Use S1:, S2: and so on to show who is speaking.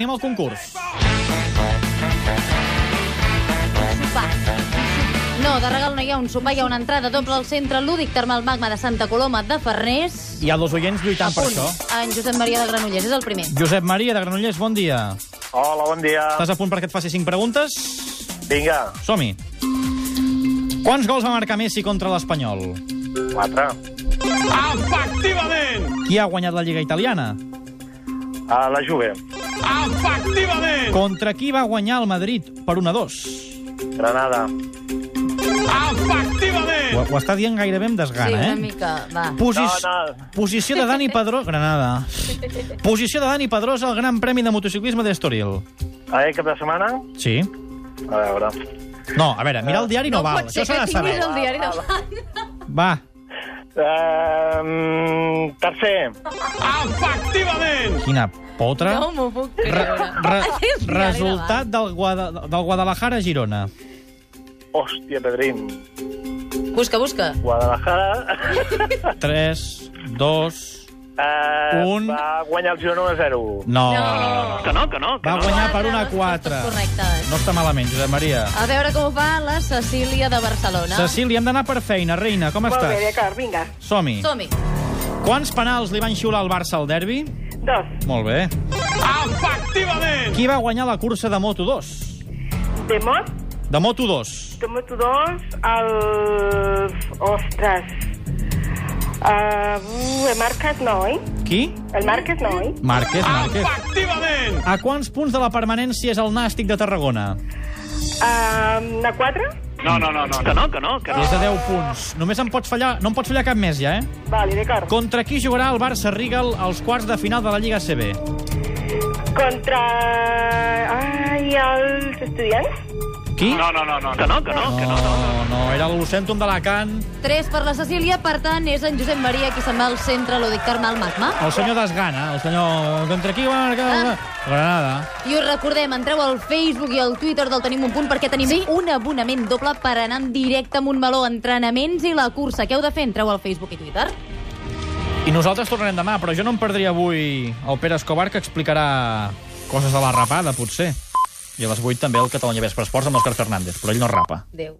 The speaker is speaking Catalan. S1: Anem al concurs.
S2: sopar. No, de regal no hi ha un sopar, hi ha una entrada doble al centre lúdic termal magma de Santa Coloma de Farners.
S1: Hi ha dos oients lluitant per això.
S2: En Josep Maria de Granollers és el primer.
S1: Josep Maria de Granollers, bon dia.
S3: Hola, bon dia.
S1: Estàs a punt perquè et faci cinc preguntes?
S3: Vinga,
S1: Som-hi. Quants gols va marcar Messi contra l'Espanyol?
S3: quatre.
S1: Qui ha guanyat la Lliga Italiana?
S3: A la Juve,
S1: Contra qui va guanyar el Madrid per 1 a 2?
S3: Granada.
S1: Ho, ho està dient gairebé amb
S2: sí,
S1: desgana,
S2: una
S1: eh?
S2: mica, va.
S1: Posis...
S3: No, no.
S1: Posició de Dani Pedrós... Granada. Posició de Dani Pedrós al Gran Premi de Motociclisme d'Estoril.
S3: A veure, cap de setmana?
S1: Sí?
S3: A veure.
S1: No, a veure, mirar el diari no, val.
S2: pot ser
S1: Això s'ha
S2: que
S1: de
S2: tinguis
S1: saber.
S2: el diari de...
S1: Va,
S3: Um, tercer.
S1: quina potra.
S2: No m'ho puc
S1: Re,
S2: creure.
S1: re,
S2: El diari
S1: resultat del, Guada, del Guadalajara a Girona.
S3: Hòstia, Pedrín.
S2: de- Busca, busca.
S3: Guadalajara
S1: 3, 2...
S3: eh,
S1: Un.
S3: va guanyar el Girona 1 a 0.
S1: No.
S2: No.
S3: Que no, que no.
S1: Va guanyar Oh. per
S2: Quatre,
S1: una
S2: les
S1: 4.
S2: respostes correctes.
S1: No està malament, Josep Maria.
S2: A veure com ho fa la Cecília de Barcelona.
S1: Cecília, hem d'anar per feina. Reina, com
S4: Molt bé,
S1: estàs?
S4: d'acord, vinga.
S1: Som-hi.
S2: Som-hi.
S1: Quants penals li van xiular al Barça al derbi?
S4: Dos.
S1: Molt bé. Efectivament! Qui va guanyar la cursa de Moto2?
S4: De mot,
S1: De Moto2.
S4: de moto dos, el... Ostres. Uh, el Marques no, oi?
S1: Qui?
S4: El Marques no, ¿eh? oi?
S1: Márquez, Márquez. A quants punts de la permanència és el Nàstic de Tarragona?
S4: Uh, a quatre?
S3: No, no, no, no. Que no, que no. Que
S1: És de 10 punts. Només en pots fallar... No en pots fallar cap més, ja, eh?
S4: Vale, d'acord.
S1: Contra qui jugarà el Barça Rigal als quarts de final de la Lliga CB?
S4: Contra... Ai, els estudiants?
S1: Qui?
S3: no, no, no. Que no, que no.
S1: no, no, era el Lucèntum d'Alacant,
S2: 3 per la Cecília, per tant, és en Josep Maria qui se'n va al centre Lúdic Termal Magma.
S1: el senyor Desgana, el senyor... Contra qui va marcar? Granada.
S2: I us recordem, entreu al Facebook i al Twitter del Tenim un punt perquè tenim sí? un abonament doble per anar en directe a Montmeló, entrenaments i la cursa. Què heu de fer? Entreu al Facebook i Twitter.
S1: I nosaltres tornarem demà, però jo no em perdria avui el Pere Escobar, que explicarà coses de la rapada, potser. I a les 8 també el Catalunya Vespre Esports amb l'Òscar Fernández, però ell no rapa.
S2: Adéu.